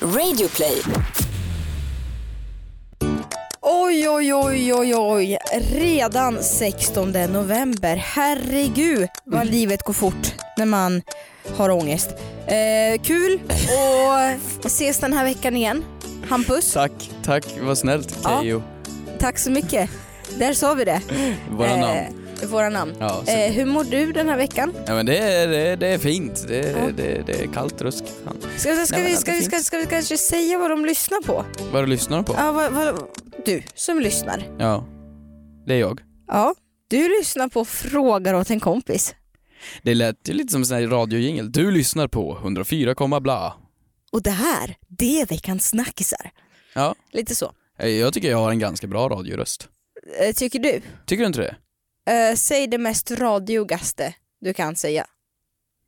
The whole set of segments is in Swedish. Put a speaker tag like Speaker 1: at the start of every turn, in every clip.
Speaker 1: Radioplay.
Speaker 2: Oj, oj, oj, oj, oj. Redan 16 november. Herregud
Speaker 3: Mm.
Speaker 2: vad livet går fort när man har ångest. Eh, kul och ses den här veckan igen. Hampus,
Speaker 3: Tack, tack, vad snällt
Speaker 2: Ja.
Speaker 3: Keyyo.
Speaker 2: tack så mycket. Där sa vi det.
Speaker 3: Våra namn.
Speaker 2: Eh, våra namn.
Speaker 3: Ja, så,
Speaker 2: Eh, hur mår du den här veckan?
Speaker 3: ja, men det, är, det, är- det är fint, det, är-
Speaker 2: Ja.
Speaker 3: det, det är kallt rusk. Fan.
Speaker 2: Ska, ska, vi,
Speaker 3: Nej, men
Speaker 2: ska,
Speaker 3: det
Speaker 2: vi, ska,
Speaker 3: finns.
Speaker 2: ska vi kanske säga vad de lyssnar på?
Speaker 3: Vad du lyssnar på?
Speaker 2: Ja, vad, vad, du som lyssnar.
Speaker 3: Ja. Det är jag.
Speaker 2: Ja, du lyssnar på Frågar åt en kompis.
Speaker 3: Det lät ju lite som en sån här radiojingel. Du lyssnar på 104, komma bla.
Speaker 2: Och det här, det är veckans snackisar.
Speaker 3: Ja.
Speaker 2: Lite så.
Speaker 3: Eh, Jag tycker jag har en ganska bra radioröst.
Speaker 2: Eh, tycker du?
Speaker 3: Tycker du inte det?
Speaker 2: Eh, säg det mest radiogaste du kan säga.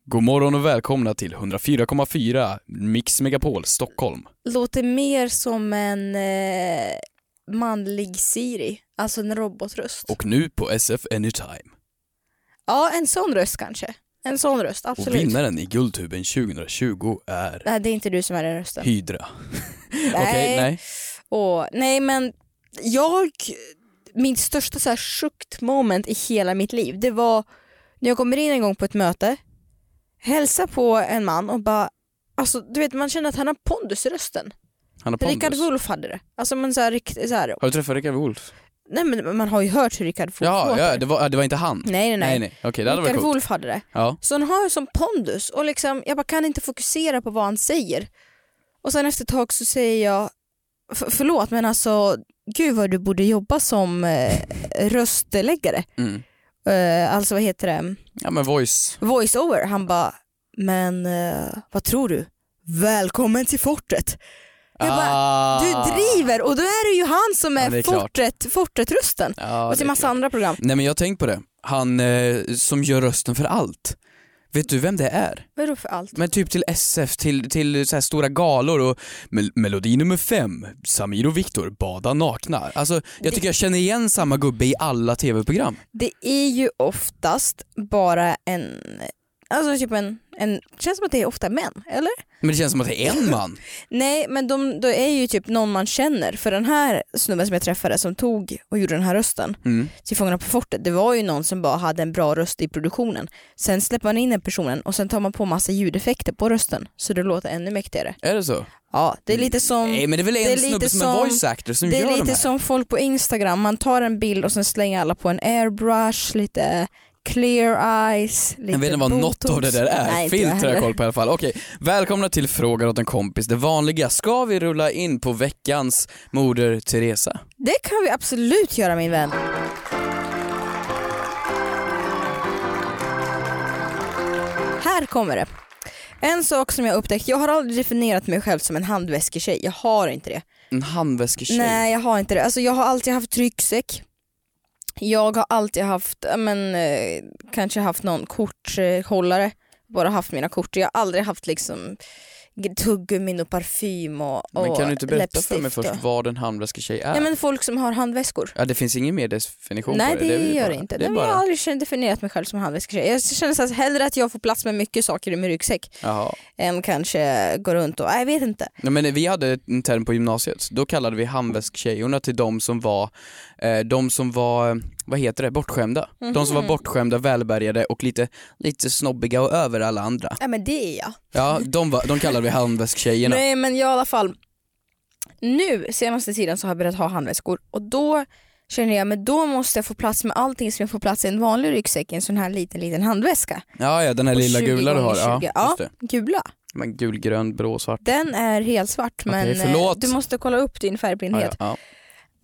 Speaker 3: God morgon och välkomna till 104,4 Mix Megapol Stockholm.
Speaker 2: Låter mer som en eh, manlig Siri, alltså en robotröst.
Speaker 3: Och nu på SF Anytime.
Speaker 2: Ja, en sån röst kanske. En sån röst,
Speaker 3: Och
Speaker 2: absolut.
Speaker 3: vinnaren i Guldtuben 2020 är
Speaker 2: Nej, det är inte du som är den rösten.
Speaker 3: Hydra. Okej,
Speaker 2: nej.
Speaker 3: nej.
Speaker 2: Och, nej, men jag, min största så här sjukt moment i hela mitt liv, det var när jag kommer in en gång på ett möte, hälsar på en man och bara, alltså du vet man känner att han har pondus i rösten.
Speaker 3: Han har
Speaker 2: Rickard
Speaker 3: pondus.
Speaker 2: Wolff hade det. Alltså men så här, rikt- så här,
Speaker 3: Har du träffat Rickard Wolff?
Speaker 2: nej men man har ju hört hur Rickard Wolff
Speaker 3: Ja,
Speaker 2: låter.
Speaker 3: ja det, var, det var inte han.
Speaker 2: Nej nej nej.
Speaker 3: nej. Okej, det hade varit
Speaker 2: Rickard
Speaker 3: coolt.
Speaker 2: Wolff hade det.
Speaker 3: Ja.
Speaker 2: Så han har ju som pondus och liksom, jag bara kan inte fokusera på vad han säger. Och sen efter ett tag så säger jag, f- förlåt men alltså, gud vad du borde jobba som eh, röstläggare.
Speaker 3: Mm.
Speaker 2: Eh, alltså vad heter det,
Speaker 3: Ja men voice.
Speaker 2: voice-over. Han bara, men eh, vad tror du? Välkommen till fortet. Jag bara,
Speaker 3: ah.
Speaker 2: du driver och då är det ju han som
Speaker 3: Ja,
Speaker 2: är,
Speaker 3: det är klart.
Speaker 2: fortet, fortet-rösten.
Speaker 3: Ja,
Speaker 2: och
Speaker 3: det
Speaker 2: till
Speaker 3: är
Speaker 2: massa
Speaker 3: klart.
Speaker 2: andra program.
Speaker 3: Nej men jag har tänkt på det. Han eh, som gör rösten för allt. Vet du vem det är?
Speaker 2: Vadå för allt?
Speaker 3: Men typ till SF, till, till så här stora galor och mel- melodi nummer fem, Samir och Viktor, bada nakna. Alltså jag
Speaker 2: Det-
Speaker 3: tycker jag känner igen samma gubbe i alla tv-program.
Speaker 2: Det är ju oftast bara en, alltså typ en, en känns som att det är ofta män, eller?
Speaker 3: Men det känns som att det är en man.
Speaker 2: Nej men de, det är ju typ någon man känner, för den här snubben som jag träffade som tog och gjorde den här rösten
Speaker 3: Mm.
Speaker 2: till Fångarna på fortet, det var ju någon som bara hade en bra röst i produktionen. Sen släpper man in den personen och sen tar man på massa ljudeffekter på rösten så det låter ännu mäktigare.
Speaker 3: Är det så?
Speaker 2: Ja, det är lite som
Speaker 3: Nej men det är väl en
Speaker 2: det är lite
Speaker 3: snubbe som, är
Speaker 2: som-
Speaker 3: voice actor som
Speaker 2: det
Speaker 3: gör
Speaker 2: är
Speaker 3: de
Speaker 2: lite
Speaker 3: här?
Speaker 2: som folk på Instagram, man tar en bild och sen slänger alla på en airbrush, lite clear eyes, lite
Speaker 3: Jag vet inte vad
Speaker 2: botox.
Speaker 3: något av det där är.
Speaker 2: Nej, inte jag
Speaker 3: Filter har
Speaker 2: heller.
Speaker 3: jag koll på i alla fall. Okej, välkomna till Frågar åt en kompis. Det vanliga, ska vi rulla in på veckans Moder Teresa?
Speaker 2: Det kan vi absolut göra min vän. Här kommer det. En sak som jag har upptäckt, jag har aldrig definierat mig själv som en handväsketjej, jag har inte det.
Speaker 3: En handväsketjej.
Speaker 2: Nej jag har inte det, alltså jag har alltid haft ryggsäck. Jag har alltid haft, ja, men, eh, kanske haft någon korthållare, bara haft mina kort. Jag har aldrig haft liksom g- tuggummin och parfym och, och
Speaker 3: Men kan du inte berätta
Speaker 2: läppstift
Speaker 3: för mig först
Speaker 2: och-
Speaker 3: vad en handväsketjej är?
Speaker 2: Nej men folk som har handväskor.
Speaker 3: Ja, det finns ingen mer definition
Speaker 2: Nej
Speaker 3: på
Speaker 2: det,
Speaker 3: det. är
Speaker 2: gör
Speaker 3: bara,
Speaker 2: det inte.
Speaker 3: Det
Speaker 2: Nej,
Speaker 3: är
Speaker 2: men
Speaker 3: bara...
Speaker 2: Jag har aldrig känt- definierat mig själv som handväsketjej. Jag känner så här, hellre att jag får plats med mycket saker i min ryggsäck
Speaker 3: Jaha.
Speaker 2: än kanske gå runt och, nej, jag vet inte.
Speaker 3: Nej, men vi hade en term på gymnasiet, då kallade vi handväsktjejerna till de som var, eh, de som var, eh, vad heter det, bortskämda. De som var
Speaker 2: Mhm.
Speaker 3: bortskämda, välbärgade och lite, lite snobbiga och över alla andra.
Speaker 2: Ja men det är jag.
Speaker 3: Ja, de, var, de kallade vi handväsktjejerna.
Speaker 2: Nej men jag i alla fall, nu senaste tiden så har jag börjat ha handväskor och då känner jag men då måste jag få plats med allting som jag får plats i en vanlig ryggsäck i en sån här liten liten handväska.
Speaker 3: Ja, ja den här
Speaker 2: Och
Speaker 3: lilla
Speaker 2: 20
Speaker 3: gula du har.
Speaker 2: gånger 20.
Speaker 3: Ja, just det.
Speaker 2: Gula.
Speaker 3: Men gul, grön, blå, svart.
Speaker 2: Den är helt svart
Speaker 3: Okej,
Speaker 2: men eh,
Speaker 3: förlåt.
Speaker 2: du måste kolla upp din
Speaker 3: Ja,
Speaker 2: färgblindhet.
Speaker 3: ja, ja.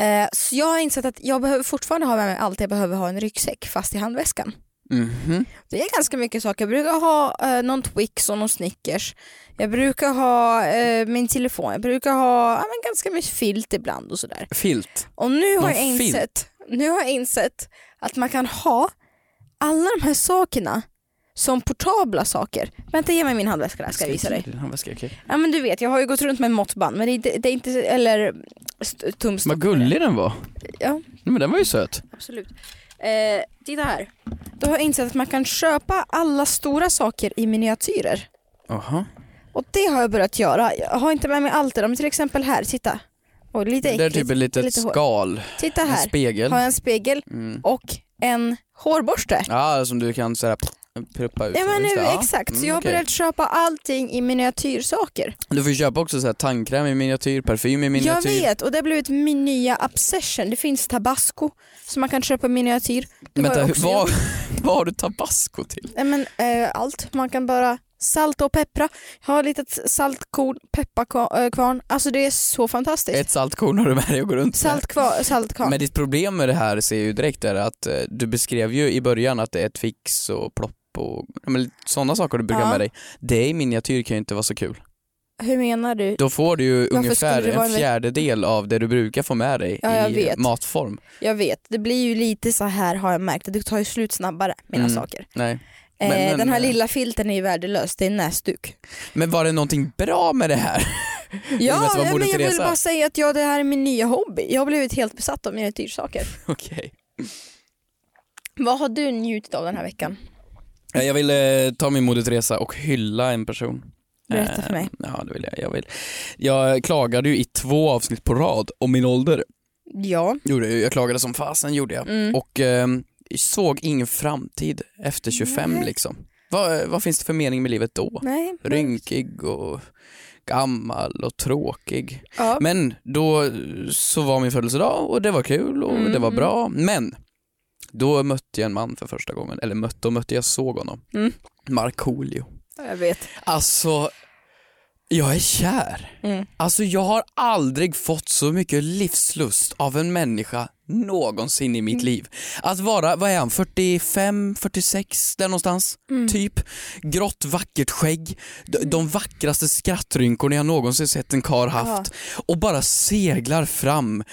Speaker 2: Eh, så jag har insett att jag behöver fortfarande ha med mig allt jag behöver ha i en ryggsäck fast i handväskan.
Speaker 3: Mhm.
Speaker 2: Det är ganska mycket saker. Jag brukar ha eh, någon Twix och någon Snickers. Jag brukar ha eh, min telefon. Jag brukar ha ja, men ganska mycket filt ibland och sådär.
Speaker 3: Filt.
Speaker 2: Och nu har,
Speaker 3: Någon
Speaker 2: jag
Speaker 3: filt?
Speaker 2: insett, nu har jag insett att man kan ha alla de här sakerna som portabla saker. Vänta, ge mig min handväska där ska jag visa dig.
Speaker 3: Din handväska, okej.
Speaker 2: Ja men du vet, jag har ju gått runt med måttband men det är, inte- det är inte, eller st- tumstock.
Speaker 3: Vad gullig den var.
Speaker 2: Ja.
Speaker 3: Nej, men den var ju söt.
Speaker 2: Absolut. Eh, titta här. Då har jag insett att man kan köpa alla stora saker i miniatyrer.
Speaker 3: Jaha.
Speaker 2: Och det har jag börjat göra. Jag har inte med mig allt det där, men till exempel här, titta. Och lite
Speaker 3: Det där är
Speaker 2: äckligt.
Speaker 3: typ ett litet
Speaker 2: lite hår.
Speaker 3: skal,
Speaker 2: titta
Speaker 3: en
Speaker 2: här.
Speaker 3: spegel.
Speaker 2: Har jag en spegel
Speaker 3: Mm.
Speaker 2: och en hårborste.
Speaker 3: Ja, som du kan såhär pruppa ut.
Speaker 2: Ja men
Speaker 3: Just
Speaker 2: nu,
Speaker 3: det, ja.
Speaker 2: exakt. Så
Speaker 3: Mm,
Speaker 2: jag har
Speaker 3: okej.
Speaker 2: börjat köpa allting i miniatyrsaker.
Speaker 3: Du får ju köpa också så här tandkräm i miniatyr, parfym i
Speaker 2: Jag
Speaker 3: miniatyr.
Speaker 2: vet och det har blivit min nya obsession. Det finns tabasco som man kan köpa i miniatyr. Det har
Speaker 3: Vänta,
Speaker 2: jag
Speaker 3: hur-
Speaker 2: också
Speaker 3: vad,
Speaker 2: gjort.
Speaker 3: vad har du tabasco till?
Speaker 2: Nej, men, eh, allt. Man kan bara salta och peppra. Jag har ett litet saltkorn, pepparkvarn. Alltså det är så fantastiskt.
Speaker 3: Ett saltkorn har du med dig och går runt med.
Speaker 2: Saltkvar, saltkvarn.
Speaker 3: Men ditt problem med det här ser jag ju direkt är att eh, du beskrev ju i början att det är ett fix och plopp och ja, men sådana saker du brukar
Speaker 2: Ja.
Speaker 3: med dig. Det i miniatyr kan ju inte vara så kul.
Speaker 2: Hur menar du?
Speaker 3: Då får du ju
Speaker 2: skulle
Speaker 3: ungefär
Speaker 2: det vara en
Speaker 3: en
Speaker 2: ve-
Speaker 3: fjärdedel av det du brukar få med dig
Speaker 2: Ja, jag
Speaker 3: i
Speaker 2: vet.
Speaker 3: matform.
Speaker 2: Jag vet, det blir ju lite så här har jag märkt. Det tar ju slut snabbare, mina
Speaker 3: Mm.
Speaker 2: saker.
Speaker 3: Nej.
Speaker 2: Eh,
Speaker 3: Men- men-
Speaker 2: den här lilla filten är ju värdelös, det är en näsduk.
Speaker 3: Men var det någonting bra med det här? med att
Speaker 2: Ja,
Speaker 3: det var
Speaker 2: nej,
Speaker 3: Moder
Speaker 2: men jag vill
Speaker 3: Teresa.
Speaker 2: bara säga att ja, det här är min nya hobby. Jag har blivit helt besatt av miniatyrsaker.
Speaker 3: Okej.
Speaker 2: Vad har du njutit av den här veckan?
Speaker 3: Ja, Jag vill eh, ta min Moder Teresa och hylla en person.
Speaker 2: Berätta för
Speaker 3: Eh,
Speaker 2: mig.
Speaker 3: Ja, det vill jag. Jag, vill. jag klagade ju i två avsnitt på rad om min ålder.
Speaker 2: Ja,
Speaker 3: Gjorde jag, ju. jag klagade som fasen gjorde jag.
Speaker 2: mm.
Speaker 3: Och ehm, såg ingen framtid efter 25
Speaker 2: Nej.
Speaker 3: liksom. Vad, vad finns det för mening med livet då?
Speaker 2: nej. men-
Speaker 3: Rynkig och gammal och tråkig.
Speaker 2: Ja.
Speaker 3: Men då så var min födelsedag och det var kul och
Speaker 2: Mm,
Speaker 3: det var
Speaker 2: mm.
Speaker 3: bra. Men då mötte jag en man för första gången, eller mötte, då mötte jag såg honom.
Speaker 2: Mm.
Speaker 3: Markoolio.
Speaker 2: Jag vet.
Speaker 3: Alltså, jag är kär.
Speaker 2: Mm.
Speaker 3: Alltså jag har aldrig fått så mycket livslust av en människa någonsin i mitt
Speaker 2: Mm.
Speaker 3: liv. Att vara, vad är han, 45, 46 där någonstans?
Speaker 2: Mm.
Speaker 3: Typ. Grått vackert skägg, de, de vackraste skrattrynkorna jag någonsin sett en kar haft och bara seglar fram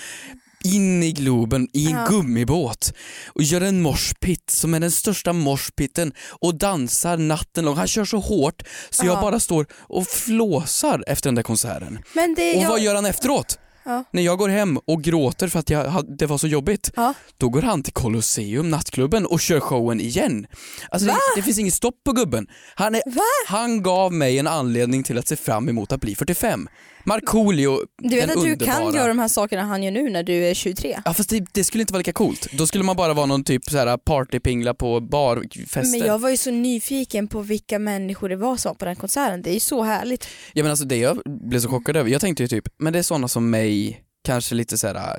Speaker 3: in i Globen i en
Speaker 2: Ja.
Speaker 3: gummibåt och gör en morspitt som är den största morspitten och dansar natten lång. Han kör så hårt så jag
Speaker 2: Ja.
Speaker 3: bara står och flåsar efter den där konserten.
Speaker 2: Men det
Speaker 3: Och
Speaker 2: jag...
Speaker 3: vad gör han efteråt?
Speaker 2: Ja.
Speaker 3: När jag går hem och gråter för att jag, had- det var så jobbigt,
Speaker 2: Ja.
Speaker 3: då går han till Colosseum, nattklubben och kör showen igen. Alltså det, det finns inget stopp på gubben. Han, är, han gav mig en anledning till att se fram emot att bli 45. Markoolio,
Speaker 2: Du vet
Speaker 3: den
Speaker 2: att du
Speaker 3: underbara.
Speaker 2: kan göra de här sakerna han gör nu när du är 23.
Speaker 3: Ja fast det, det skulle inte vara lika coolt. Då skulle man bara vara någon typ så här partypingla på barfester.
Speaker 2: Men jag var ju så nyfiken på vilka människor det var som var på den konserten. Det är ju så härligt.
Speaker 3: Ja men alltså det jag blev så chockad över, jag tänkte ju typ, men det är sådana som mig, kanske lite så här äh,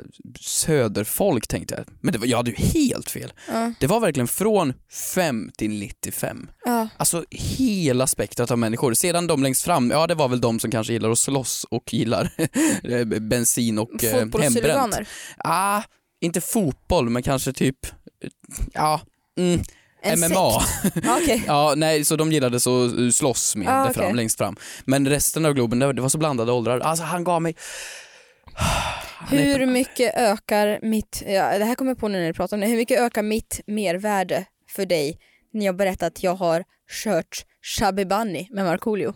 Speaker 3: söderfolk tänkte jag. Men det var, jag hade ju helt fel.
Speaker 2: Ja.
Speaker 3: Det var verkligen från 5 till 95.
Speaker 2: Ja.
Speaker 3: Alltså hela spektrat av människor. Sedan de längst fram, ja det var väl de som kanske gillar att slåss och gillar eh, bensin och eh, hembränt.
Speaker 2: Fotbollshuliganer.
Speaker 3: Ah, inte fotboll men kanske typ, eh, ja, mm,
Speaker 2: En
Speaker 3: MMA.
Speaker 2: sekt. Ja, Okej.
Speaker 3: Ja, nej, så de gillade så eh, slåss med
Speaker 2: Ah,
Speaker 3: där
Speaker 2: okej.
Speaker 3: fram, längst fram. Men resten av Globen, det var så blandade åldrar. Alltså han gav mig... Ah, Han är-
Speaker 2: Hur mycket ökar mitt, ja, det här kommer jag på nu när du pratar om det, hur mycket ökar mitt mervärde för dig när jag berättar att jag har kört Shabby Bunny med Markoolio?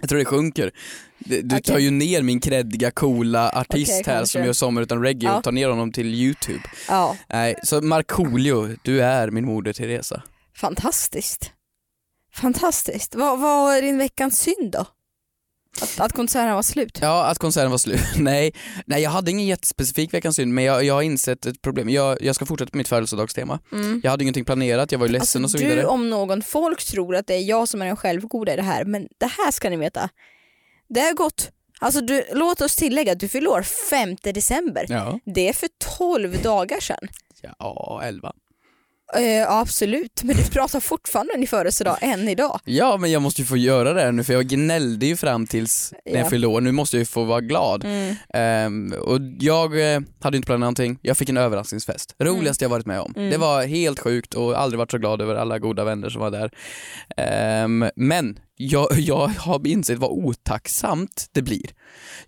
Speaker 3: Jag tror det sjunker. Du, du
Speaker 2: Okej.
Speaker 3: tar ju ner min kreddiga, coola artist
Speaker 2: Okej,
Speaker 3: här
Speaker 2: kanske.
Speaker 3: som gör sommar utan reggae
Speaker 2: Ja.
Speaker 3: och tar ner honom till YouTube.
Speaker 2: Ja,
Speaker 3: Nej, så Markoolio, du är min moder Teresa.
Speaker 2: fantastiskt. Fantastiskt. Vad, vad är din veckans synd då? Att, att konserten var slut?
Speaker 3: Ja, att konserten var slut. Nej, nej jag hade ingen jättespecifik Veckans synd men jag, jag har insett ett problem. Jag, jag ska fortsätta på mitt födelsedagstema.
Speaker 2: Mm.
Speaker 3: Jag hade ingenting planerat, jag var ju ledsen och så vidare.
Speaker 2: Alltså, du om någon, folk tror att det är jag som är den självgoda i det här, men det här ska ni veta. Det har gått, alltså du, låt oss tillägga att du fyller år 5 december.
Speaker 3: Ja.
Speaker 2: Det är för 12 dagar sedan.
Speaker 3: ja, elva.
Speaker 2: Eh, ja, absolut, men du pratar fortfarande om din födelsedag än idag.
Speaker 3: Ja men jag måste ju få göra det här nu för jag gnällde ju fram tills när
Speaker 2: Ja.
Speaker 3: jag fyllde år, nu måste jag ju få vara glad. Ehm, och jag eh, hade inte planerat någonting, jag fick en överraskningsfest. Roligaste jag varit med om. Det var helt sjukt och aldrig varit så glad över alla goda vänner som var där. Ehm, men jag, jag har insett vad otacksamt det blir.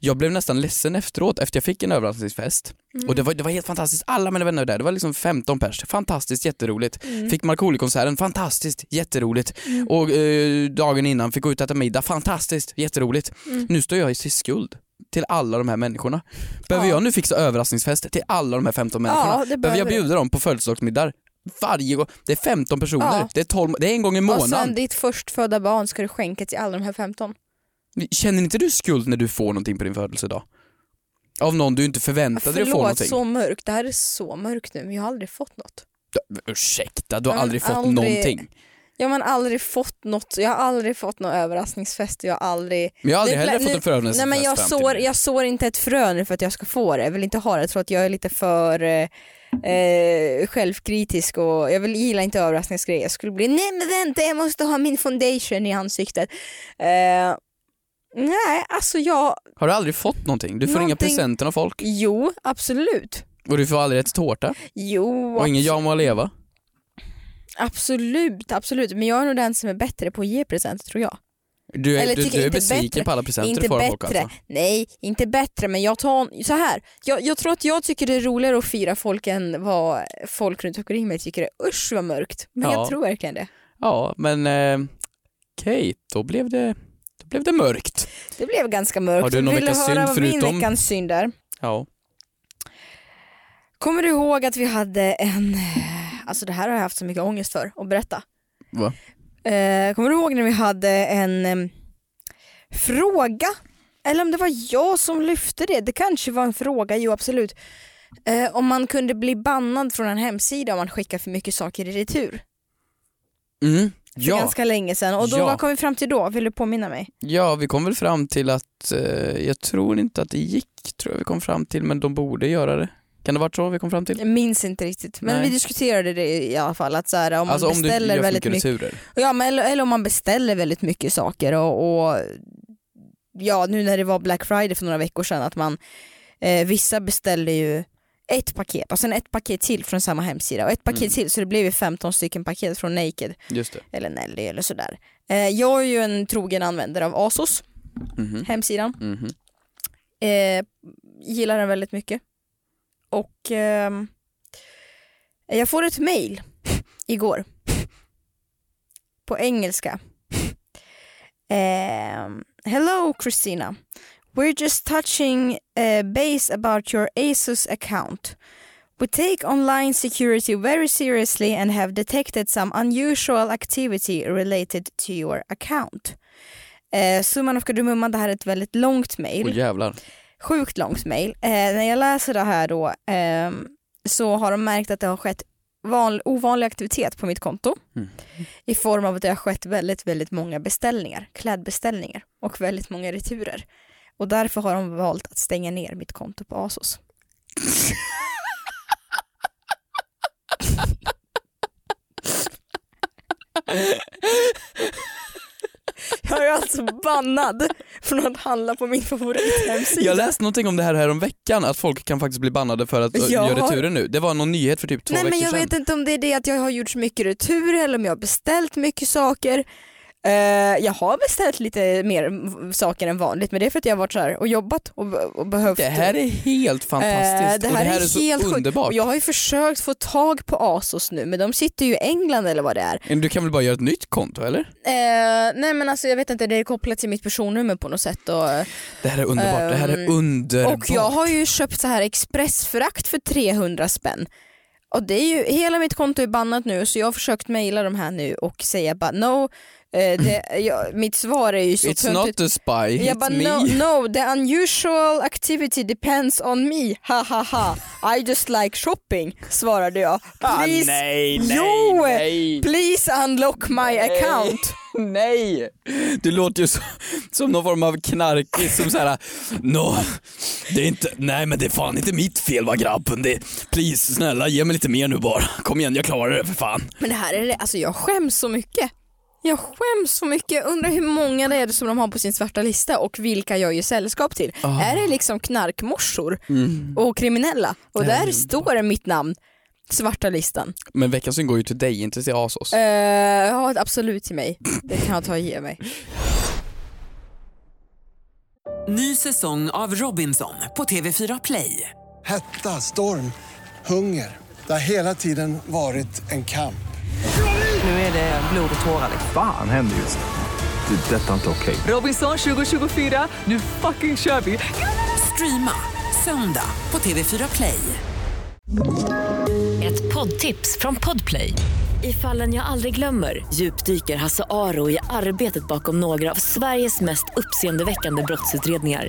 Speaker 3: Jag blev nästan ledsen efteråt efter jag fick en överraskningsfest. Mm. Och det var, det var helt fantastiskt, alla mina vänner var där, det var liksom 15 pers. Fantastiskt, jätteroligt.
Speaker 2: Mm.
Speaker 3: Fick Markoolio-konserten, fantastiskt, jätteroligt. Och eh, dagen innan fick gå ut och äta middag, fantastiskt, jätteroligt.
Speaker 2: Mm.
Speaker 3: Nu står jag i skuld till alla de här människorna. Behöver
Speaker 2: Ja.
Speaker 3: jag nu fixa överraskningsfest till alla de här 15 människorna?
Speaker 2: det
Speaker 3: Behöver jag
Speaker 2: behöver du.
Speaker 3: bjuda dem på födelsedagsmiddagar? varje gång. Det är 15 personer,
Speaker 2: Ja.
Speaker 3: det, är 12, det är en gång i
Speaker 2: Och sen
Speaker 3: månaden.
Speaker 2: ditt förstfödda barn ska du skänka till alla de här 15.
Speaker 3: Känner inte du skuld när du får någonting på din födelsedag? Av någon du inte förväntade dig att få
Speaker 2: Förlåt,
Speaker 3: någonting?
Speaker 2: så mörkt. Det här är så mörkt nu men jag har aldrig fått något.
Speaker 3: Ursäkta, du
Speaker 2: Ja,
Speaker 3: har
Speaker 2: men
Speaker 3: aldrig fått
Speaker 2: aldrig-
Speaker 3: någonting.
Speaker 2: Jag har man aldrig fått något, jag har aldrig fått någon överraskningsfest och jag har aldrig...
Speaker 3: Men jag har aldrig
Speaker 2: Nu-
Speaker 3: heller
Speaker 2: nu-
Speaker 3: fått en förövningsfest
Speaker 2: Nej men jag
Speaker 3: fram till
Speaker 2: sår,
Speaker 3: nu.
Speaker 2: jag sår inte ett frö nu för att jag ska få det. Jag vill inte ha det. Jag tror att jag är lite för eh, eh, självkritisk och jag vill, gillar inte överraskningsgrejer. Jag skulle bli nej men vänta jag måste ha min foundation i ansiktet. Eh, nej alltså jag,
Speaker 3: Har du aldrig fått någonting? Du får inga
Speaker 2: Någonting-
Speaker 3: presenter av folk
Speaker 2: jo absolut.
Speaker 3: och du får aldrig ett tårta
Speaker 2: Jo
Speaker 3: och ingen jag må leva.
Speaker 2: absolut, absolut. Men jag är nog den som är bättre på att ge presenter tror jag.
Speaker 3: Du är,
Speaker 2: Eller
Speaker 3: du,
Speaker 2: tycker
Speaker 3: du är
Speaker 2: inte
Speaker 3: besviken
Speaker 2: bättre-
Speaker 3: på alla presenter
Speaker 2: Inte
Speaker 3: du får av
Speaker 2: bättre,
Speaker 3: folk alltså.
Speaker 2: nej inte bättre men jag tar, så här. Jag, jag tror att jag tycker det är roligare att fira folk än vad folk runt omkring mig tycker är usch vad mörkt. Men
Speaker 3: Ja.
Speaker 2: jag tror verkligen det.
Speaker 3: Ja, men eh, okej, då blev det då blev det mörkt.
Speaker 2: Det blev ganska mörkt.
Speaker 3: Har du någon
Speaker 2: Vill
Speaker 3: veckans
Speaker 2: höra
Speaker 3: synd
Speaker 2: vad
Speaker 3: förutom-
Speaker 2: min veckans synd är?
Speaker 3: Ja.
Speaker 2: Kommer du ihåg att vi hade en, alltså det här har jag haft så mycket ångest för att berätta.
Speaker 3: Va?
Speaker 2: Eh, kommer du ihåg när vi hade en em, fråga? Eller om det var jag som lyfte det, det kanske var en fråga, jo absolut. Eh, om man kunde bli bannad från en hemsida om man skickar för mycket saker i retur.
Speaker 3: Mm.
Speaker 2: För
Speaker 3: Ja.
Speaker 2: ganska länge sedan. Och då,
Speaker 3: Ja.
Speaker 2: vad kom vi fram till då? Vill du påminna mig?
Speaker 3: ja, vi kom väl fram till att, eh, jag tror inte att det gick, tror jag vi kom fram till, men de borde göra det. Kan det varit så vi kom fram till?
Speaker 2: Jag minns inte riktigt. Men
Speaker 3: Nej.
Speaker 2: vi diskuterade det i alla fall. Att så här, om man
Speaker 3: alltså om du
Speaker 2: beställer
Speaker 3: gör för
Speaker 2: väldigt
Speaker 3: mycket
Speaker 2: mycket
Speaker 3: returer.
Speaker 2: Ja, men, eller, eller om man beställer väldigt mycket saker och, och ja, nu när det var Black Friday för några veckor sedan att man, eh, vissa beställde ju ett paket och sen ett paket till från samma hemsida och ett paket
Speaker 3: Mm.
Speaker 2: till så det blev ju 15 stycken paket från Naked
Speaker 3: Just det.
Speaker 2: eller Nelly eller sådär. Eh, jag är ju en trogen användare av ASOS,
Speaker 3: Mhm.
Speaker 2: hemsidan.
Speaker 3: Mhm.
Speaker 2: Eh, gillar den väldigt mycket. Och ehm, jag får ett mail igår. På engelska. Ehm, Hello Christina. We're just touching eh, base about your ASUS account. We take online security very seriously and have detected some unusual activity related to your account. Eh, summan av kardemumman, det här är ett väldigt långt mail
Speaker 3: Åh jävlar.
Speaker 2: sjukt långt mejl. Eh, när jag läser det här då ehm, så har de märkt att det har skett van, ovanlig aktivitet på mitt konto
Speaker 3: Mm.
Speaker 2: i form av att det har skett väldigt, väldigt många beställningar, klädbeställningar och väldigt många returer. Och därför har de valt att stänga ner mitt konto på ASOS. Jag är alltså bannad från att handla på min favorithemsida.
Speaker 3: Jag läste någonting om det här, här om veckan att folk kan faktiskt bli bannade för att
Speaker 2: Jag
Speaker 3: göra
Speaker 2: har-
Speaker 3: returer nu. Det var någon nyhet för typ två
Speaker 2: Nej
Speaker 3: veckor
Speaker 2: men jag
Speaker 3: sedan.
Speaker 2: vet inte om det är det att jag har gjort så mycket returer eller om jag har beställt mycket saker. Eh, jag har beställt lite mer m- saker än vanligt men det är för att jag har varit så här och jobbat och, be- och behövt.
Speaker 3: Det här är helt fantastiskt
Speaker 2: Eh,
Speaker 3: och det här är,
Speaker 2: helt
Speaker 3: så
Speaker 2: sjukt.
Speaker 3: underbart.
Speaker 2: Och jag har ju försökt få tag på ASOS nu men de sitter ju i England eller vad det är.
Speaker 3: Men Du kan väl bara göra ett nytt konto eller?
Speaker 2: Eh, nej men alltså jag vet inte, det är kopplat till mitt personnummer på något sätt. Och,
Speaker 3: Det här är underbart, det här är
Speaker 2: Ehm,
Speaker 3: underbart.
Speaker 2: Och jag har ju köpt så här expressfrakt för 300 spänn. Och det är ju, hela mitt konto är bannat nu så jag har försökt mejla de här nu och säga bara no, eh, det, jag, mitt svar är ju så
Speaker 3: It's not a spy,
Speaker 2: jag
Speaker 3: it's
Speaker 2: bara
Speaker 3: me.
Speaker 2: no, no, the unusual activity depends on me, ha ha ha. I just like shopping, svarade jag.
Speaker 3: Ah,
Speaker 2: Please,
Speaker 3: nej,
Speaker 2: Jo!
Speaker 3: nej,
Speaker 2: please unlock my account.
Speaker 3: nej. Du låter ju som, som någon form av knarkis som såhär, no, det är inte, nej men det är fan inte mitt fel va grabben. Det, please snälla ge mig lite mer nu bara. Kom igen jag klarar det för fan.
Speaker 2: Men det här är det, alltså jag skäms så mycket. Jag skäms så mycket. Jag undrar hur många det är som de har på sin svarta lista och vilka jag gör sällskap till.
Speaker 3: Ah.
Speaker 2: Är det liksom knarkmorsor
Speaker 3: Mm.
Speaker 2: och kriminella? Och
Speaker 3: Det här är
Speaker 2: där
Speaker 3: ju
Speaker 2: står det mitt namn. Svarta listan.
Speaker 3: Men veckans synd går ju till dig, inte till Asos.
Speaker 2: Eh, jag har ett absolut till mig. Det kan jag ta och ge mig.
Speaker 1: Ny säsong av Robinson på TV4 Play.
Speaker 4: Hetta, storm, hunger. Det har hela tiden varit en kamp.
Speaker 1: Nu är det blod och tårar.
Speaker 5: Fan händer just nu. Det. är Detta är inte okej.
Speaker 1: Robinson 2024, nu fucking kör vi! Streama söndag på TV4 Play.
Speaker 6: Ett poddtips från Podplay. I fallen jag aldrig glömmer djupdyker Hasse Aro i arbetet bakom några av Sveriges mest uppseendeväckande brottsutredningar.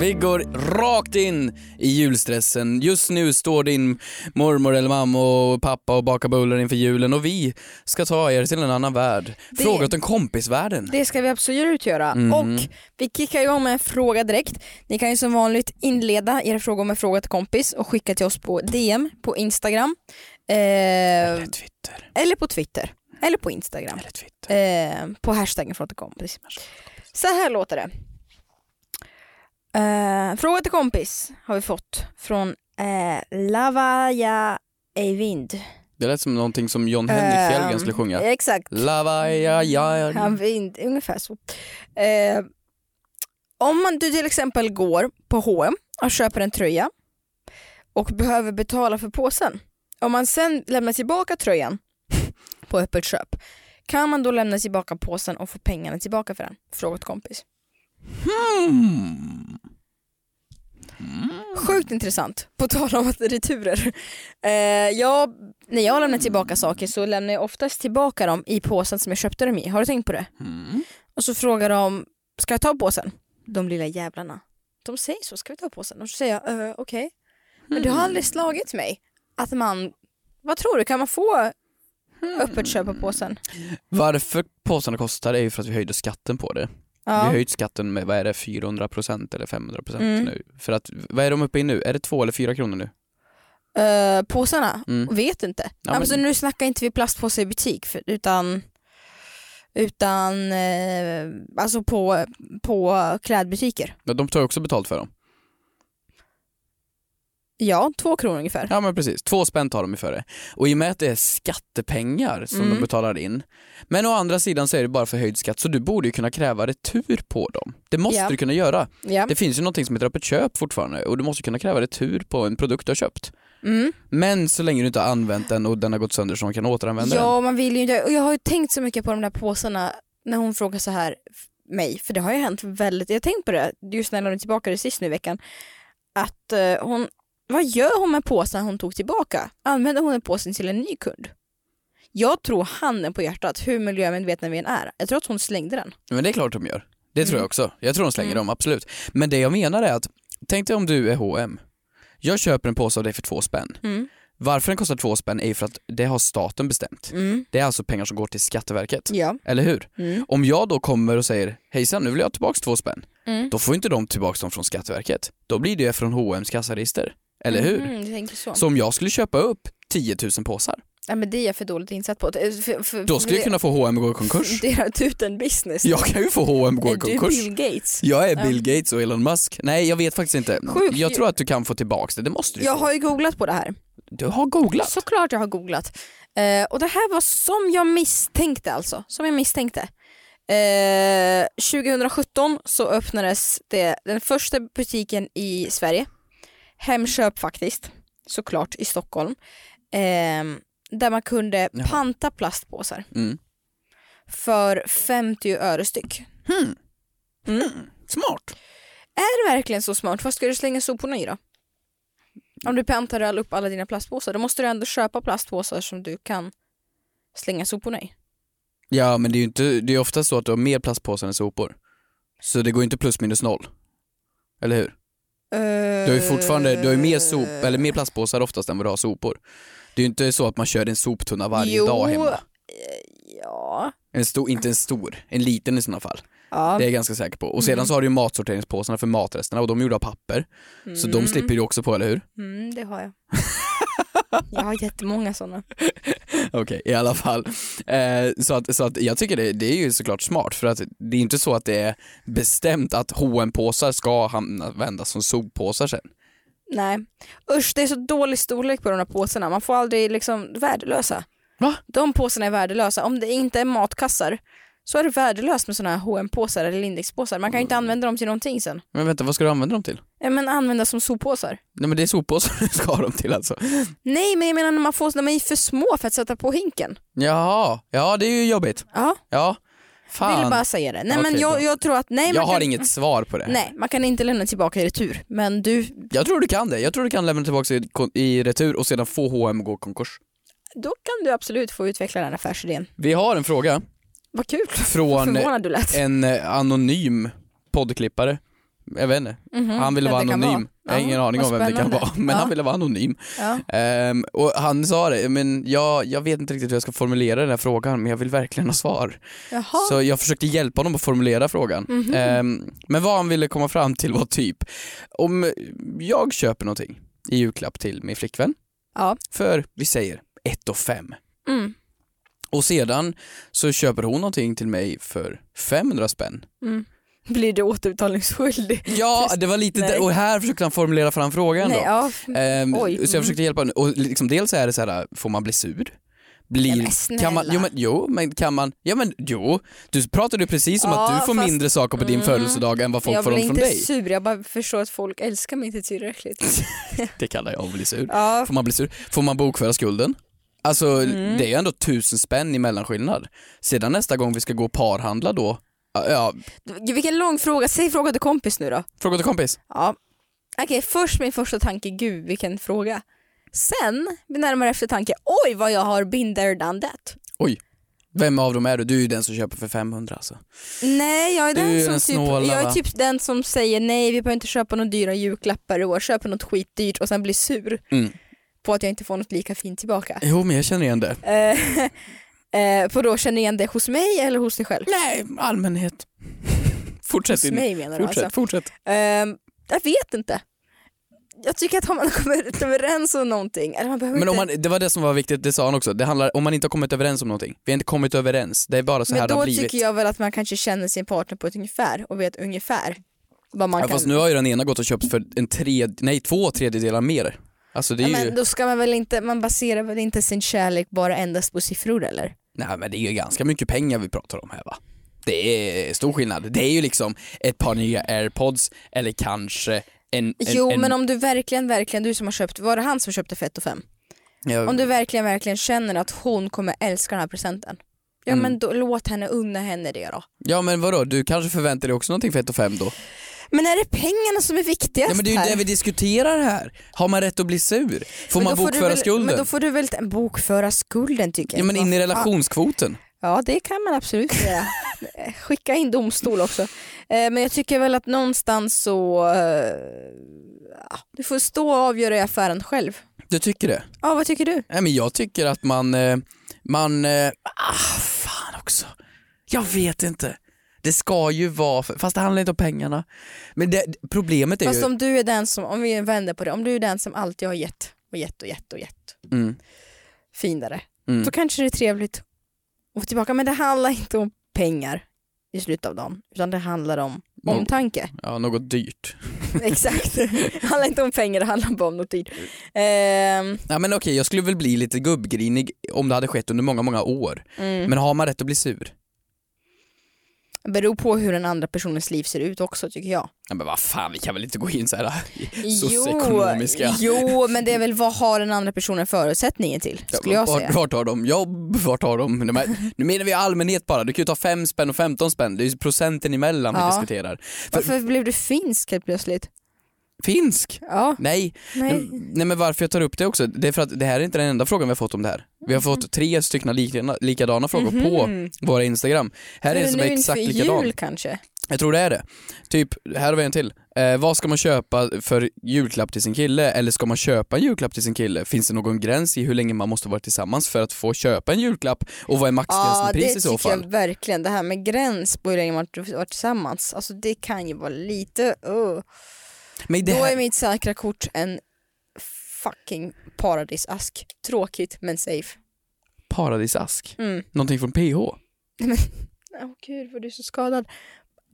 Speaker 3: Vi går rakt in i julstressen. Just nu står din mormor eller mamma och pappa och bakar bullar inför julen och vi ska ta er till en annan värld. Fråga åt en kompisvärlden.
Speaker 2: Det ska vi absolut göra.
Speaker 3: Mm.
Speaker 2: Och vi kickar igång med en fråga direkt. Ni kan ju som vanligt inleda era frågor med fråga till kompis och skicka till oss på DM på Instagram. Eh, eller,
Speaker 3: Twitter.
Speaker 2: på Twitter. Eller på Instagram.
Speaker 3: Eller Twitter.
Speaker 2: Eh, på hashtaggen fråga till kompis. Så här låter det. Eh, fråga till kompis har vi fått från eh, Lavaya Eivind.
Speaker 3: Det lät som någonting som John Henrik Fjällgren skulle sjunga.
Speaker 2: Eh, Exakt.
Speaker 3: Lavaja, ja, ja.
Speaker 2: Ehm, Han vind, ungefär så. Eh, om man, du till exempel går på H&M och köper en tröja och behöver betala för påsen. Om man sen lämnar tillbaka tröjan på öppet köp, kan man då lämna tillbaka påsen och få pengarna tillbaka för den? Fråga åt kompis.
Speaker 3: Mm.
Speaker 2: Sjukt intressant, på tal om att returer. Eh, jag, när jag lämnar
Speaker 3: Mm.
Speaker 2: tillbaka saker så lämnar jag oftast tillbaka dem i påsen som jag köpte dem i. Har du tänkt på det?
Speaker 3: Mm.
Speaker 2: Och så frågar de, ska jag ta påsen? De lilla jävlarna. De säger så, ska vi ta påsen? Och så säger jag, "Eh, okej. Men det har
Speaker 3: Mm.
Speaker 2: aldrig slagit mig att man, vad tror du, kan man få
Speaker 3: Mm.
Speaker 2: öppet köp på påsen?
Speaker 3: Varför påsarna kostar är ju för att vi höjde skatten på det. Vi har
Speaker 2: Ja,
Speaker 3: höjt skatten med, vad är det, 400% eller 500%
Speaker 2: Mm.
Speaker 3: nu? För att, vad är de uppe i nu? Är det två eller fyra kronor nu?
Speaker 2: eh, påsarna?
Speaker 3: Mm.
Speaker 2: Vet inte.
Speaker 3: Ja, men-
Speaker 2: alltså, nu snackar inte vi plastpåse i butik för, utan, utan eh, alltså på, på klädbutiker.
Speaker 3: Ja, de tar ju också betalt för dem.
Speaker 2: Ja, två kronor ungefär.
Speaker 3: Ja men precis, två spänn tar de ju för det. Och i och med att det är skattepengar som de
Speaker 2: Mm.
Speaker 3: betalar in, men å andra sidan så är det bara förhöjd skatt så du borde ju kunna kräva retur på dem. Det måste
Speaker 2: Ja.
Speaker 3: du kunna göra.
Speaker 2: Ja.
Speaker 3: Det finns ju någonting som heter öppet köp fortfarande och du måste kunna kräva retur på en produkt du har köpt.
Speaker 2: Mm.
Speaker 3: Men så länge du inte har använt den och den har gått sönder så de kan återanvända den.
Speaker 2: Ja, man vill ju inte. Och jag har ju tänkt så mycket på de där påsarna när hon frågar så här f- mig, för det har ju hänt väldigt, jag har tänkt på det just när jag lämnade tillbaka det sist nu i veckan, att eh, hon, vad gör hon med påsen hon tog tillbaka? Använder hon den påsen till en ny kund? Jag tror handen på hjärtat, hur miljömedvetna vi än är, jag tror att hon slängde den.
Speaker 3: Men det är klart de gör. Det tror
Speaker 2: Mm.
Speaker 3: jag också. Jag tror de slänger
Speaker 2: Mm.
Speaker 3: dem, absolut. Men det jag menar är att, tänk dig om du är H&M Jag köper en påse av dig för två spänn.
Speaker 2: Mm.
Speaker 3: Varför den kostar två spänn är ju för att det har staten bestämt. Det är alltså pengar som går till Skatteverket.
Speaker 2: Mm. Ja.
Speaker 3: Eller hur?
Speaker 2: Mm.
Speaker 3: Om jag då kommer och säger hejsan nu vill jag ha tillbaks två spänn.
Speaker 2: Mm.
Speaker 3: Då får inte de tillbaks dem från Skatteverket. Då blir det ju från H&M's kassaregister. Eller hur?
Speaker 2: Mm, jag tänker så.
Speaker 3: Så om jag skulle köpa upp 10 000 påsar,
Speaker 2: Ja, men det är jag för dåligt insatt på. Det- För, för,
Speaker 3: då skulle jag kunna få H&M gå i konkurs.
Speaker 2: fundera ut en business.
Speaker 3: Jag kan ju få H&M gå i
Speaker 2: är du
Speaker 3: konkurs.
Speaker 2: Bill Gates?
Speaker 3: Jag är Bill Gates och Elon Musk. Nej jag vet faktiskt inte.
Speaker 2: Sjukt.
Speaker 3: Jag tror att du kan få tillbaks det, det måste du
Speaker 2: Jag
Speaker 3: få.
Speaker 2: har ju googlat på det här.
Speaker 3: Du har googlat.
Speaker 2: Såklart jag har googlat. Eh, och det här var som jag misstänkte alltså. Som jag misstänkte. Eh, 2017 så öppnades det, den första butiken i Sverige. Hemköp faktiskt. Såklart i Stockholm. Ehm, där man kunde
Speaker 3: Jaha.
Speaker 2: panta plastpåsar.
Speaker 3: Mm.
Speaker 2: För 50 öre styck.
Speaker 3: Smart.
Speaker 2: Är det verkligen så smart? Vad ska du slänga soporna i då? Om du pantar all- upp alla dina plastpåsar, då måste du ändå köpa plastpåsar som du kan slänga soporna i.
Speaker 3: Ja men det är ju inte, det är ofta så att du har mer plastpåsar än sopor. Så det går ju inte plus minus noll. Eller hur? Du har ju fortfarande, du har ju mer, sop, eller mer plastpåsar oftast än vad du har sopor. Det är ju inte så att man kör en soptunna varje
Speaker 2: Jo. eh,
Speaker 3: dag hemma.
Speaker 2: Ja.
Speaker 3: En stor, inte en stor, en liten i sådana fall.
Speaker 2: ja. Mm.
Speaker 3: Det är jag ganska säker på. Och sedan så har du ju matsorteringspåsarna för matresterna och de är gjorda av papper. Så de slipper du också på, eller hur?
Speaker 2: Mm, det har jag. jag har jättemånga sådana.
Speaker 3: Okej, i alla fall. Eh, så, att, så att jag tycker det, det är ju såklart smart för att det är inte så att det är bestämt att hm påsar ska hamna, vändas som soppåsar sen.
Speaker 2: Nej. Usch, det är så dålig storlek på de här påsarna. Man får aldrig liksom värdelösa.
Speaker 3: Va?
Speaker 2: De påsarna är värdelösa. Om det inte är matkassar så är det värdelöst med såna här hm påsar eller Lindexpåsar. Man kan ju inte använda dem till någonting sen.
Speaker 3: Men vänta, vad ska du använda dem till?
Speaker 2: Ja, Men använda som soppåsar.
Speaker 3: Nej men det är soppåsar du ska ha dem till alltså.
Speaker 2: Nej men jag menar när man får, när man är för små för att sätta på hinken.
Speaker 3: Jaha, ja det är ju jobbigt.
Speaker 2: Ja,
Speaker 3: Ja,
Speaker 2: vill
Speaker 3: fan.
Speaker 2: bara säga det. Nej men
Speaker 3: Okej,
Speaker 2: jag,
Speaker 3: bra.
Speaker 2: jag tror att, nej
Speaker 3: jag
Speaker 2: man
Speaker 3: har
Speaker 2: kan,
Speaker 3: inget svar på det.
Speaker 2: Nej, man kan inte lämna tillbaka i retur. Men du,
Speaker 3: Jag tror du kan det. Jag tror du kan lämna tillbaka i, i retur och sedan få H&M gå konkurs.
Speaker 2: då kan du absolut få utveckla den här affärsidén.
Speaker 3: Vi har en fråga
Speaker 2: Vad kul! Vad
Speaker 3: från
Speaker 2: förvånad du lät.
Speaker 3: en eh, anonym poddklippare. Jag vet inte. Han ville
Speaker 2: vem
Speaker 3: vara
Speaker 2: Mm, Mm-hmm. det kan
Speaker 3: anonym.
Speaker 2: vara.
Speaker 3: Jag har ingen
Speaker 2: Ja,
Speaker 3: aning om
Speaker 2: vad
Speaker 3: vem det kan
Speaker 2: spännande.
Speaker 3: vara, men
Speaker 2: Ja.
Speaker 3: han ville vara anonym.
Speaker 2: Ja.
Speaker 3: Ehm, och han sa det, men jag, jag vet inte riktigt hur jag ska formulera den här frågan, men jag vill verkligen ha svar.
Speaker 2: Jaha.
Speaker 3: Så jag försökte hjälpa honom att formulera frågan.
Speaker 2: Mhm.
Speaker 3: Ehm, men vad han ville komma fram till var typ, om jag köper någonting i julklapp till min flickvän
Speaker 2: Ja.
Speaker 3: för, vi säger, 1 och 5.
Speaker 2: Mm.
Speaker 3: Och sedan så köper hon någonting till mig för 500 spänn.
Speaker 2: Blir du återbetalningsskyldig?
Speaker 3: Ja, det var lite
Speaker 2: Nej.
Speaker 3: där, och här försökte han formulera fram frågan
Speaker 2: Nej,
Speaker 3: då.
Speaker 2: ja.
Speaker 3: Ehm,
Speaker 2: Oj.
Speaker 3: så jag försökte hjälpa honom. Och liksom, dels är det så här, får man bli sur? Blir,
Speaker 2: Nej, men
Speaker 3: kan man,
Speaker 2: snälla.
Speaker 3: jo, men, jo men kan man, ja men jo, du pratade ju precis om
Speaker 2: Ja,
Speaker 3: att du får
Speaker 2: fast- Mm.
Speaker 3: mindre saker på din födelsedag än vad folk
Speaker 2: jag
Speaker 3: får
Speaker 2: blir
Speaker 3: dem från
Speaker 2: inte
Speaker 3: dig.
Speaker 2: sur, jag bara förstår att folk älskar mig inte tillräckligt.
Speaker 3: Det kallar jag att bli sur.
Speaker 2: Ja, Mm.
Speaker 3: Får man bli sur? Får man bokföra skulden? Alltså det är ju ändå tusen spänn i mellanskillnad. Sedan nästa gång vi ska gå och parhandla då, ja, ja,
Speaker 2: vilken lång fråga. Säg fråga till kompis nu då.
Speaker 3: fråga till kompis.
Speaker 2: Ja. Okej, först min första tanke, gud vilken fråga. Sen, vid närmare eftertanke, oj vad jag har been there done that.
Speaker 3: Oj, vem av dem är du? Du är ju den som köper för 500 alltså.
Speaker 2: Nej, jag är,
Speaker 3: Du är
Speaker 2: den
Speaker 3: ju
Speaker 2: som
Speaker 3: den snåla,
Speaker 2: typ, jag är
Speaker 3: va?
Speaker 2: typ den som säger nej, vi behöver inte köpa några dyra julklappar i år, köper något skitdyrt och sen blir sur
Speaker 3: Mm.
Speaker 2: på att jag inte får något lika fint tillbaka.
Speaker 3: Jo men jag känner igen det.
Speaker 2: Eh, eh, på då känner igen det hos mig eller hos dig själv?
Speaker 3: Nej, allmänhet. Fortsätt.
Speaker 2: Hos
Speaker 3: Inge.
Speaker 2: mig menar du
Speaker 3: fortsätt,
Speaker 2: alltså?
Speaker 3: fortsätt.
Speaker 2: Ehm, jag vet inte. Jag tycker att har man kommit överens om någonting, eller man behöver
Speaker 3: Men om
Speaker 2: inte...
Speaker 3: man, det var det som var viktigt, det sa han också. Det handlar om man inte har kommit överens om någonting. Vi har inte kommit överens, det är bara så
Speaker 2: men
Speaker 3: här det
Speaker 2: då
Speaker 3: har blivit.
Speaker 2: tycker jag väl att man kanske känner sin partner på ett ungefär och vet ungefär vad man
Speaker 3: ja,
Speaker 2: kan...
Speaker 3: fast nu har ju den ena gått och köpt för en tred, nej, två tredjedelar mer. Alltså det är
Speaker 2: Ja,
Speaker 3: ju...
Speaker 2: men då ska man väl inte, man baserar väl inte sin kärlek bara endast på siffror eller?
Speaker 3: Nej men det är ju ganska mycket pengar vi pratar om här va? Det är stor skillnad. Det är ju liksom ett par nya airpods eller kanske en... en
Speaker 2: jo
Speaker 3: en,
Speaker 2: men om du verkligen, verkligen, du som har köpt, var det han som köpte för ett och fem?
Speaker 3: ja,
Speaker 2: Om du verkligen, verkligen känner att hon kommer älska den här presenten. Ja
Speaker 3: Mm.
Speaker 2: men då, låt henne unna henne det då.
Speaker 3: ja men vadå, du kanske förväntar dig också någonting för ett och fem då?
Speaker 2: Men är det pengarna som är viktigast
Speaker 3: Ja men det är ju
Speaker 2: här?
Speaker 3: det vi diskuterar här. Har man rätt att bli sur? Får
Speaker 2: Men
Speaker 3: man
Speaker 2: då får du
Speaker 3: bokföra
Speaker 2: väl,
Speaker 3: skulden?
Speaker 2: Men då får du väl inte bokföra skulden tycker jag.
Speaker 3: Ja men
Speaker 2: Vad
Speaker 3: in i
Speaker 2: fan.
Speaker 3: relationskvoten.
Speaker 2: Ja det kan man absolut göra. Skicka in domstol också. Eh, Men jag tycker väl att någonstans så, eh, ja, du får stå och avgöra i affären själv.
Speaker 3: Du tycker det?
Speaker 2: Ja vad tycker du?
Speaker 3: Nej men jag tycker att man, eh, man, eh, ah fan också. Jag vet inte. Det ska ju vara, för, fast det handlar inte om pengarna. Men det, problemet är
Speaker 2: Fast
Speaker 3: ju,
Speaker 2: om du är den som, om vi vänder på det, om du är den som alltid har gett och gett och gett och gett
Speaker 3: Mm.
Speaker 2: finare,
Speaker 3: Mm.
Speaker 2: då kanske det är trevligt att få tillbaka. Men det handlar inte om pengar i slutet av dagen, utan det handlar om
Speaker 3: Mm.
Speaker 2: omtanke.
Speaker 3: ja något dyrt.
Speaker 2: Exakt. Det handlar inte om pengar, det handlar bara om något dyrt. Ehm,
Speaker 3: Ja men okej jag skulle väl bli lite gubbgrinig om det hade skett under många många år.
Speaker 2: mm.
Speaker 3: Men har man rätt att bli sur?
Speaker 2: Beror på hur den andra personens liv ser ut också tycker jag.
Speaker 3: Ja, men vad fan vi kan väl inte gå in så här i socioekonomiska.
Speaker 2: jo, men det är väl vad har den andra personen förutsättningen till? Skulle jag
Speaker 3: vart,
Speaker 2: säga.
Speaker 3: vart har de jobb? Vart har de? de här, nu menar vi allmänhet bara, du kan ju ta fem spänn och 15 spänn, det är ju procenten emellan
Speaker 2: Ja.
Speaker 3: vi diskuterar. För,
Speaker 2: Varför blev du finsk helt plötsligt?
Speaker 3: Finsk?
Speaker 2: Ja,
Speaker 3: Nej,
Speaker 2: nej.
Speaker 3: Nej. nej men varför jag tar upp det också, det är för att det här är inte den enda frågan vi har fått om det här. Vi har
Speaker 2: Mm-hmm.
Speaker 3: fått tre stycken likadana, likadana frågor
Speaker 2: Mhm.
Speaker 3: på våra instagram. Här är en som är
Speaker 2: nu
Speaker 3: exakt
Speaker 2: inför
Speaker 3: likadan.
Speaker 2: jul kanske?
Speaker 3: Jag tror det är det. Typ, här har vi en till. Eh, vad ska man köpa för julklapp till sin kille? Eller ska man köpa en julklapp till sin kille? Finns det någon gräns i hur länge man måste vara tillsammans för att få köpa en julklapp? Och vad
Speaker 2: Ja,
Speaker 3: är maxgränsen i
Speaker 2: det
Speaker 3: pris i så
Speaker 2: tycker
Speaker 3: fall?
Speaker 2: jag verkligen. Det här med gräns på hur länge man har varit tillsammans, alltså det kan ju vara lite... Uh.
Speaker 3: Men det
Speaker 2: Då är
Speaker 3: här,
Speaker 2: mitt säkra kort en fucking paradisask. Tråkigt men safe.
Speaker 3: paradisask.
Speaker 2: Mm.
Speaker 3: Någonting från PH.
Speaker 2: Åh gud vad du är så skadad.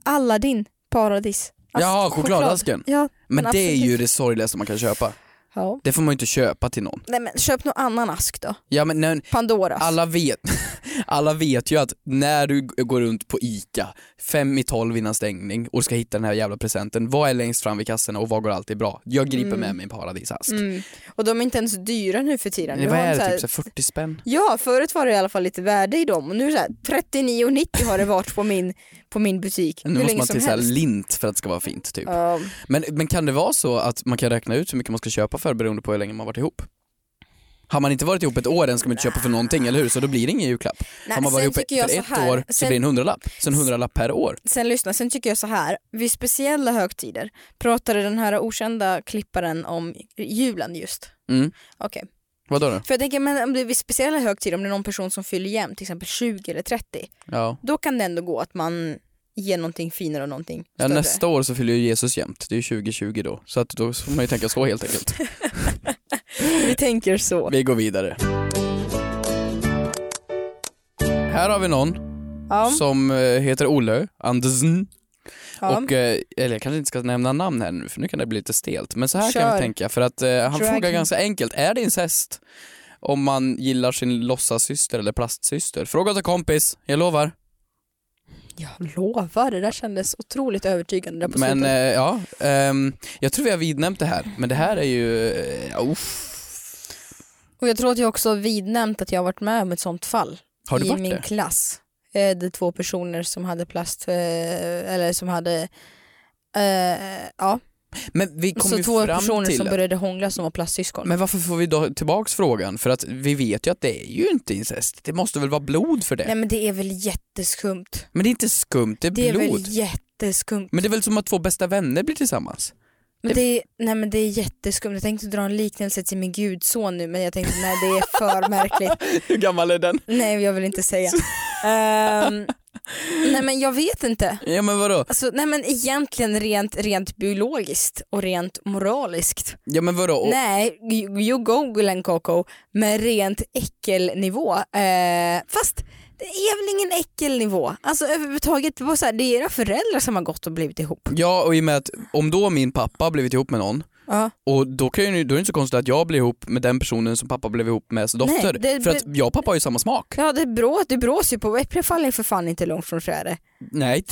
Speaker 2: Aladdin, paradis. Ask,
Speaker 3: Jaha, chokladasken.
Speaker 2: Ja,
Speaker 3: Men
Speaker 2: Men
Speaker 3: det är ju
Speaker 2: absolut.
Speaker 3: det sorgligaste man kan köpa.
Speaker 2: ja.
Speaker 3: Det får man ju inte köpa till någon.
Speaker 2: Nej men köp någon annan ask då. Alltså-
Speaker 3: Ja men nej,
Speaker 2: Pandoras.
Speaker 3: Alla vet, alla vet ju att när du g- går runt på ICA fem i tolv innan stängning och ska hitta den här jävla presenten, vad är längst fram vid kassorna och vad går alltid bra? Jag griper med mig en paradisask.
Speaker 2: Mm. Och de är inte ens dyra nu för tiden.
Speaker 3: Men
Speaker 2: Nu
Speaker 3: Vad
Speaker 2: har de
Speaker 3: är
Speaker 2: så
Speaker 3: det,
Speaker 2: här-
Speaker 3: typ så här 40 spänn?
Speaker 2: Ja, förut var det i alla fall lite värde i dem och nu är det så här 39,90 har det varit på min, på min butik
Speaker 3: Nu
Speaker 2: hur
Speaker 3: måste
Speaker 2: länge
Speaker 3: man
Speaker 2: som
Speaker 3: till så här
Speaker 2: helst.
Speaker 3: lint för att det ska vara fint typ.
Speaker 2: Ja.
Speaker 3: Men, men kan det vara så att man kan räkna ut hur mycket man ska köpa för beroende på hur länge man varit ihop? Har man inte varit ihop ett år än ska man inte köpa för någonting, eller hur? Så då blir det ingen julklapp.
Speaker 2: Nej,
Speaker 3: Har man
Speaker 2: sen
Speaker 3: varit ihop
Speaker 2: tycker jag
Speaker 3: för
Speaker 2: så
Speaker 3: ett
Speaker 2: här.
Speaker 3: år så
Speaker 2: Sen-
Speaker 3: blir det en hundralapp, så en hundralapp per år.
Speaker 2: Sen lyssna, sen tycker jag så här, vid speciella högtider pratade den här okända klipparen om julen just.
Speaker 3: Mm.
Speaker 2: Okej,
Speaker 3: Vadå då?
Speaker 2: för jag tänker men om det är vid speciella högtider, om det är någon person som fyller jämnt, till exempel 20 eller 30,
Speaker 3: Ja.
Speaker 2: då kan det ändå gå att man ger någonting finare och någonting
Speaker 3: Ja,
Speaker 2: större.
Speaker 3: nästa år så fyller ju Jesus jämt, det är ju 2020 då. Så att då får man ju tänka så helt enkelt.
Speaker 2: Vi tänker så.
Speaker 3: Vi går vidare. Här har vi någon
Speaker 2: Ja,
Speaker 3: som eh, heter Olle Andersen.
Speaker 2: ja.
Speaker 3: Och, eh, eller jag kanske inte ska nämna namn här nu för nu kan det bli lite stelt. Men så här kan
Speaker 2: Kör.
Speaker 3: vi tänka för att eh, han
Speaker 2: Drag
Speaker 3: frågar
Speaker 2: him.
Speaker 3: ganska enkelt, är det incest? Om man gillar sin låtsassyster eller plastsyster? Fråga till kompis, jag lovar.
Speaker 2: Jag lovar, det där kändes otroligt övertygande där på
Speaker 3: Men eh,
Speaker 2: slutet.
Speaker 3: ja, ehm, jag tror vi har vidnämnt det här, men det här är ju, eh, uff.
Speaker 2: Och jag tror att jag också har vidnämnt att jag har varit med om ett sånt fall.
Speaker 3: Har du
Speaker 2: i
Speaker 3: varit
Speaker 2: min
Speaker 3: det?
Speaker 2: klass. Eh, Det är två personer som hade plast, eh, eller som hade, eh, ja,
Speaker 3: Men vi kom
Speaker 2: så
Speaker 3: ju
Speaker 2: två
Speaker 3: fram
Speaker 2: personer
Speaker 3: till
Speaker 2: som började hångla som var plastsyskon.
Speaker 3: Men varför får vi då tillbaks frågan? För att vi vet ju att det är ju inte incest. Det måste väl vara blod för det?
Speaker 2: Nej men det är väl jätteskumt.
Speaker 3: Men det är inte skumt, det är
Speaker 2: Det är
Speaker 3: blod.
Speaker 2: väl jätteskumt.
Speaker 3: Men det är väl som att två bästa vänner blir tillsammans?
Speaker 2: Men det, är, nej men det är jätteskumt. Jag tänkte dra en liknelse till min gudson nu men jag tänkte nej det är för märkligt.
Speaker 3: Hur gammal är den?
Speaker 2: Nej jag vill inte säga. Ehm, nej men jag vet inte.
Speaker 3: Ja men vadå?
Speaker 2: Alltså, nej men egentligen rent, rent biologiskt och rent moraliskt.
Speaker 3: Ja men vadå? Och,
Speaker 2: Nej, you- you google en Coco, men rent äckelnivå. Eh, fast det är väl ingen äckelnivå? Alltså överhuvudtaget, det, var så här, det är era föräldrar som har gått och blivit ihop.
Speaker 3: ja och i och med att om då min pappa har blivit ihop med någon
Speaker 2: Ja.
Speaker 3: och då, kan ju, då är det inte så konstigt att jag blir ihop med den personen som pappa blev ihop med som dotter.
Speaker 2: Nej, det-
Speaker 3: För att jag och pappa har ju samma smak.
Speaker 2: Ja, det, brå, det brås ju på, äpplen faller ju för fan inte långt från trädet.
Speaker 3: Nej,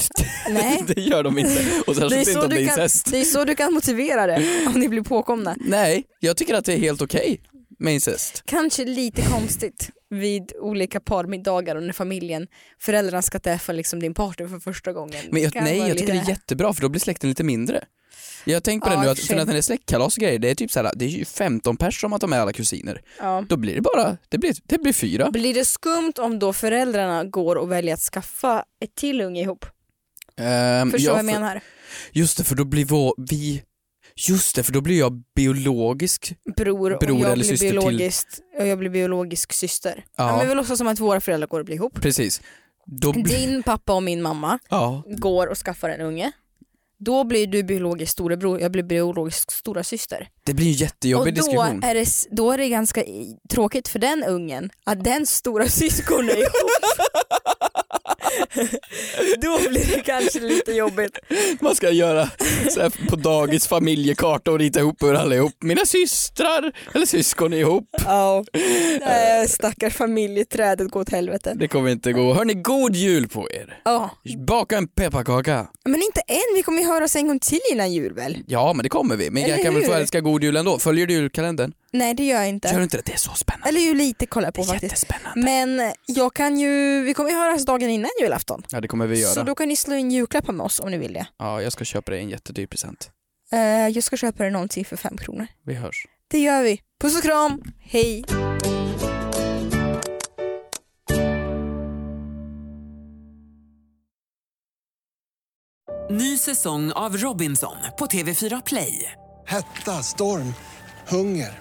Speaker 2: Nej.
Speaker 3: det gör de inte. Och särskilt inte om det är
Speaker 2: kan,
Speaker 3: incest.
Speaker 2: det är så du kan motivera det, om ni blir påkomna.
Speaker 3: Nej, jag tycker att det är helt okej med incest.
Speaker 2: Kanske lite konstigt vid olika parmiddagar och när familjen, föräldrarna ska träffa liksom din partner för första gången.
Speaker 3: Men jag,
Speaker 2: Kan
Speaker 3: nej,
Speaker 2: vara
Speaker 3: jag tycker det
Speaker 2: lite-
Speaker 3: är jättebra för då blir släkten lite mindre. Jag har tänkt på
Speaker 2: Ja,
Speaker 3: det
Speaker 2: i
Speaker 3: nu,
Speaker 2: och
Speaker 3: att,
Speaker 2: för
Speaker 3: för
Speaker 2: sig.
Speaker 3: när det är släktkalas och grejer, det är typ så här, det är ju 15 pers som att de är alla kusiner.
Speaker 2: Ja.
Speaker 3: Då blir det bara, det blir, det blir fyra.
Speaker 2: Blir det skumt om då föräldrarna går och väljer att skaffa ett till unge ihop?
Speaker 3: Ehm,
Speaker 2: Förstår
Speaker 3: ja,
Speaker 2: vad jag
Speaker 3: för-
Speaker 2: menar?
Speaker 3: Just det, för då blir vår, vi... Just det, för då blir jag biologisk.
Speaker 2: Bror, och
Speaker 3: bror
Speaker 2: jag
Speaker 3: eller
Speaker 2: blir
Speaker 3: syster till-
Speaker 2: biologiskt, och jag blir biologisk syster. Ja.
Speaker 3: Ja.
Speaker 2: Men vi vill också som att våra föräldrar går och blir ihop.
Speaker 3: Precis. Då blir...
Speaker 2: Din pappa och min mamma
Speaker 3: Ja.
Speaker 2: går och skaffar en unge. Då blir du biologisk storebror, jag blir biologisk stora syster.
Speaker 3: Det blir en
Speaker 2: och
Speaker 3: jättejobbig
Speaker 2: då
Speaker 3: diskussion.
Speaker 2: är, det, s- då är det ganska i- tråkigt för den ungen att den stora syskon är ihop. då blir det kanske lite jobbigt.
Speaker 3: Man ska göra så här på dagis familjekarta och rita ihop hur alla är ihop. Mina systrar eller syskon är ihop.
Speaker 2: Ja, oh. stackars familjeträdet går åt helvete.
Speaker 3: Det kommer inte gå. Hörni, god jul på er.
Speaker 2: Ja,
Speaker 3: Baka en pepparkaka.
Speaker 2: men inte än, vi kommer ju höras en gång till innan jul väl?
Speaker 3: Ja, men det kommer vi. Men jag
Speaker 2: Eller
Speaker 3: kan väl
Speaker 2: hur?
Speaker 3: få älska god jul ändå. Följer du julkalendern?
Speaker 2: Nej det gör jag inte.
Speaker 3: Gör du inte det? Det är så spännande.
Speaker 2: Eller Mm. ju lite kollar jag
Speaker 3: Det
Speaker 2: på
Speaker 3: är
Speaker 2: faktiskt.
Speaker 3: jättespännande.
Speaker 2: Men jag kan ju, vi kommer ju höras dagen innan julafton.
Speaker 3: Ja, det kommer vi
Speaker 2: Så
Speaker 3: göra.
Speaker 2: då kan ni slå in julklappar med oss om ni vill det.
Speaker 3: Ja, jag ska köpa dig en jättedyr present.
Speaker 2: Eh, jag ska köpa dig någonting för fem kronor.
Speaker 3: Vi hörs.
Speaker 2: Det gör vi. Puss och kram, hej!
Speaker 1: Ny säsong av Robinson på TV4 Play.
Speaker 4: Hetta, storm, hunger.